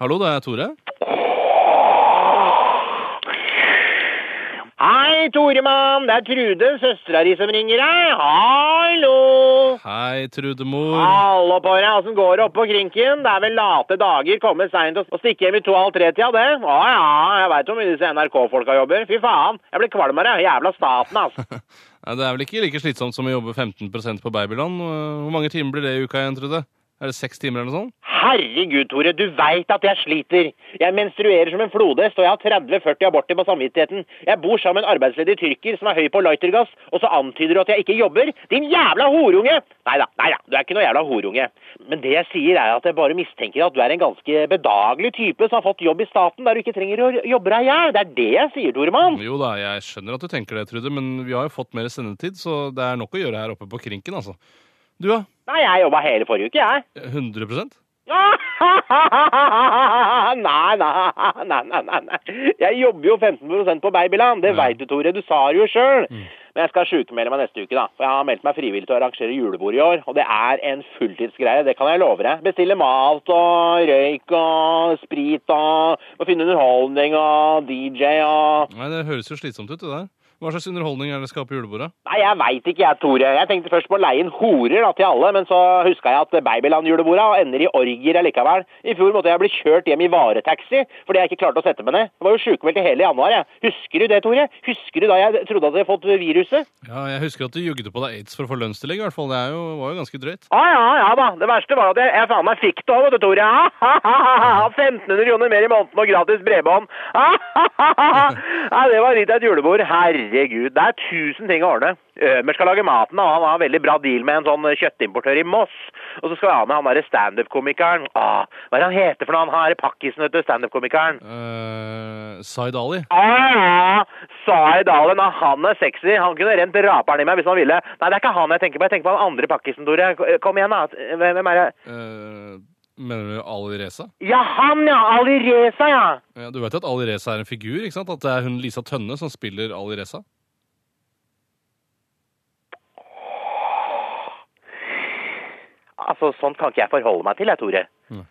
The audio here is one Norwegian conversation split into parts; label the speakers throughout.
Speaker 1: Hallo, det er Tore.
Speaker 2: Hei, Toremann. Det er Trude, søstera di, som ringer deg. Hallo!
Speaker 1: Hei, Trudemor.
Speaker 2: Hallo på deg. Åssen går det oppe på krinken? Det er vel late dager, komme seint og og stikke hjem i to-halv tre-tida, det. Å ja, jeg veit hvor mye disse NRK-folka jobber. Fy faen. Jeg blir kvalm av det. Jævla staten, altså.
Speaker 1: Nei, Det er vel ikke like slitsomt som å jobbe 15 på Babyland? Hvor mange timer blir det i uka igjen, Trude? Er det seks timer eller noe sånt?
Speaker 2: Herregud, Tore, du veit at jeg sliter. Jeg menstruerer som en flodhest, og jeg har 30-40 aborter på samvittigheten. Jeg bor sammen med en arbeidsledig tyrker som er høy på lightergass, og så antyder du at jeg ikke jobber? Din jævla horunge! Nei da, nei da, du er ikke noe jævla horunge. Men det jeg sier, er at jeg bare mistenker at du er en ganske bedagelig type som har fått jobb i staten der du ikke trenger å jobbe deg i hjel. Det er det jeg sier, Toremann.
Speaker 1: Jo da, jeg skjønner at du tenker det, Trude, men vi har jo fått mer sendetid, så det er nok å gjøre her oppe på krinken, altså. Du, ja?
Speaker 2: Nei, jeg jobba hele forrige uke, jeg.
Speaker 1: 100
Speaker 2: Nei, nei, nei, nei, nei, nei. Jeg jobber jo 15 på Babyland. Det
Speaker 1: Ja.
Speaker 2: vet du, Tore. Du sa det jo sjøl. Men jeg skal sjukmelde meg neste uke, da. For jeg har meldt meg frivillig til å arrangere julebord i år. Og det er en fulltidsgreie, det kan jeg love deg. Bestille mat og røyk og sprit og Må finne underholdning og DJ og
Speaker 1: Nei, det høres jo slitsomt ut, det der. Hva slags underholdning er det skal ha på julebordet?
Speaker 2: Nei, jeg veit ikke jeg, Tore. Jeg tenkte først på å leie inn horer da, til alle, men så huska jeg at Babyland-juleborda ender i orgier allikevel. I fjor måtte jeg bli kjørt hjem i varetaxi fordi jeg ikke klarte å sette meg ned. Jeg var jo sjukmeldt i hele januar, jeg. Husker du det, Tore? Husker du da jeg trodde at jeg hadde fått viruset?
Speaker 1: Ja, Jeg husker at du jugde på deg aids for å få lønnstillegg, i hvert fall. Det er jo, var jo ganske drøyt.
Speaker 2: Ja, ja, ja da. Det verste var at jeg, jeg faen meg fikk det òg, vet du, Tore. Ah, ha, ha, ha, ha. 1500 kroner mer i måneden og gratis bredbånd. Ah, ha, ha, ha, ha. Nei, det var litt av et julebord. Herregud. Det er tusen ting å ordne. Ømer skal lage maten, og han har en veldig bra deal med en sånn kjøttimportør i Moss. Og så skal vi ha med han derre standup-komikeren. Ah, hva er det han heter for noe? Han har pakkisen, vet du, standup-komikeren.
Speaker 1: Uh, Zaid Ali.
Speaker 2: Ah, ja. Zaid Alen, ah, han er sexy. Han kunne rent raperen i meg hvis han ville. Nei, det er ikke han jeg tenker på. Jeg tenker på han andre pakkisen, Tore. Kom igjen, da. Hvem er det?
Speaker 1: Eh, mener du Ali Reza?
Speaker 2: Ja, han ja! Ali Reza, ja!
Speaker 1: Ja, du vet jo at Ali Reza er en figur? ikke sant? At det er hun Lisa Tønne som spiller Ali Reza?
Speaker 2: Altså, Sånt kan ikke jeg forholde meg til, jeg, Tore.
Speaker 1: Nei.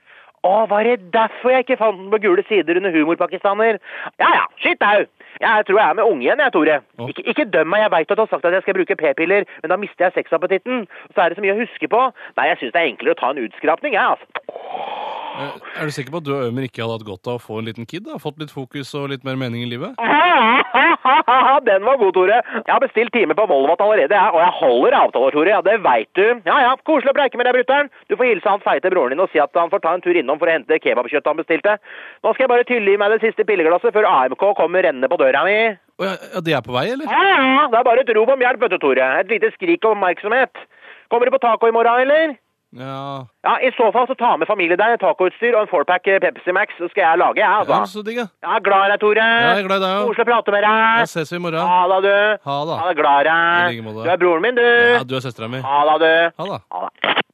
Speaker 2: Å, var det derfor jeg ikke fant den på gule sider under Humorpakistaner? Ja ja, shit au! Jeg tror jeg er med unge igjen, jeg, Tore.
Speaker 1: Å.
Speaker 2: Ikke, ikke døm meg, jeg veit at du har sagt at jeg skal bruke p-piller, men da mister jeg sexappetitten. Så er det så mye å huske på. Nei, jeg syns det er enklere å ta en utskrapning, jeg, altså.
Speaker 1: Eh, er du sikker på at du og Ømer ikke hadde hatt godt av å få en liten kid? da? Fått litt fokus og litt mer mening i livet?
Speaker 2: Den var god, Tore. Jeg har bestilt time på Volvat allerede, jeg, og jeg holder avtaler, Tore. Ja, det veit du. Ja ja, koselig å preike med deg, brutter'n. Du får hilse han feite broren din og si at han får ta en tur innom for å hente kebabkjøttet han bestilte. Nå skal jeg bare tylle i meg det siste pilleglasset før AMK kommer rennende på døra mi.
Speaker 1: Å, ja, ja, de er på vei, eller?
Speaker 2: Ja, ja, det er bare et rop om hjelp, vet du, Tore. Et lite skrik om oppmerksomhet. Kommer du på taco i morgen, eller?
Speaker 1: Ja,
Speaker 2: Ja, I så fall så ta med familie deg tacoutstyr og en fourpack eh, Pepsi Max, så skal jeg lage, jeg,
Speaker 1: ja
Speaker 2: altså.
Speaker 1: så digg, ja.
Speaker 2: Jeg er glad i deg, Tore.
Speaker 1: Ja, jeg er glad i deg òg.
Speaker 2: Koselig å prate med
Speaker 1: Da
Speaker 2: deg.
Speaker 1: ses vi i morgen.
Speaker 2: Ha det, du.
Speaker 1: Ha det.
Speaker 2: Ha det, glad i
Speaker 1: I like
Speaker 2: deg.
Speaker 1: måte.
Speaker 2: Du er broren min, du.
Speaker 1: Ja, du er søstera mi.
Speaker 2: Ha det, du.
Speaker 1: Ha det.
Speaker 2: Ha det.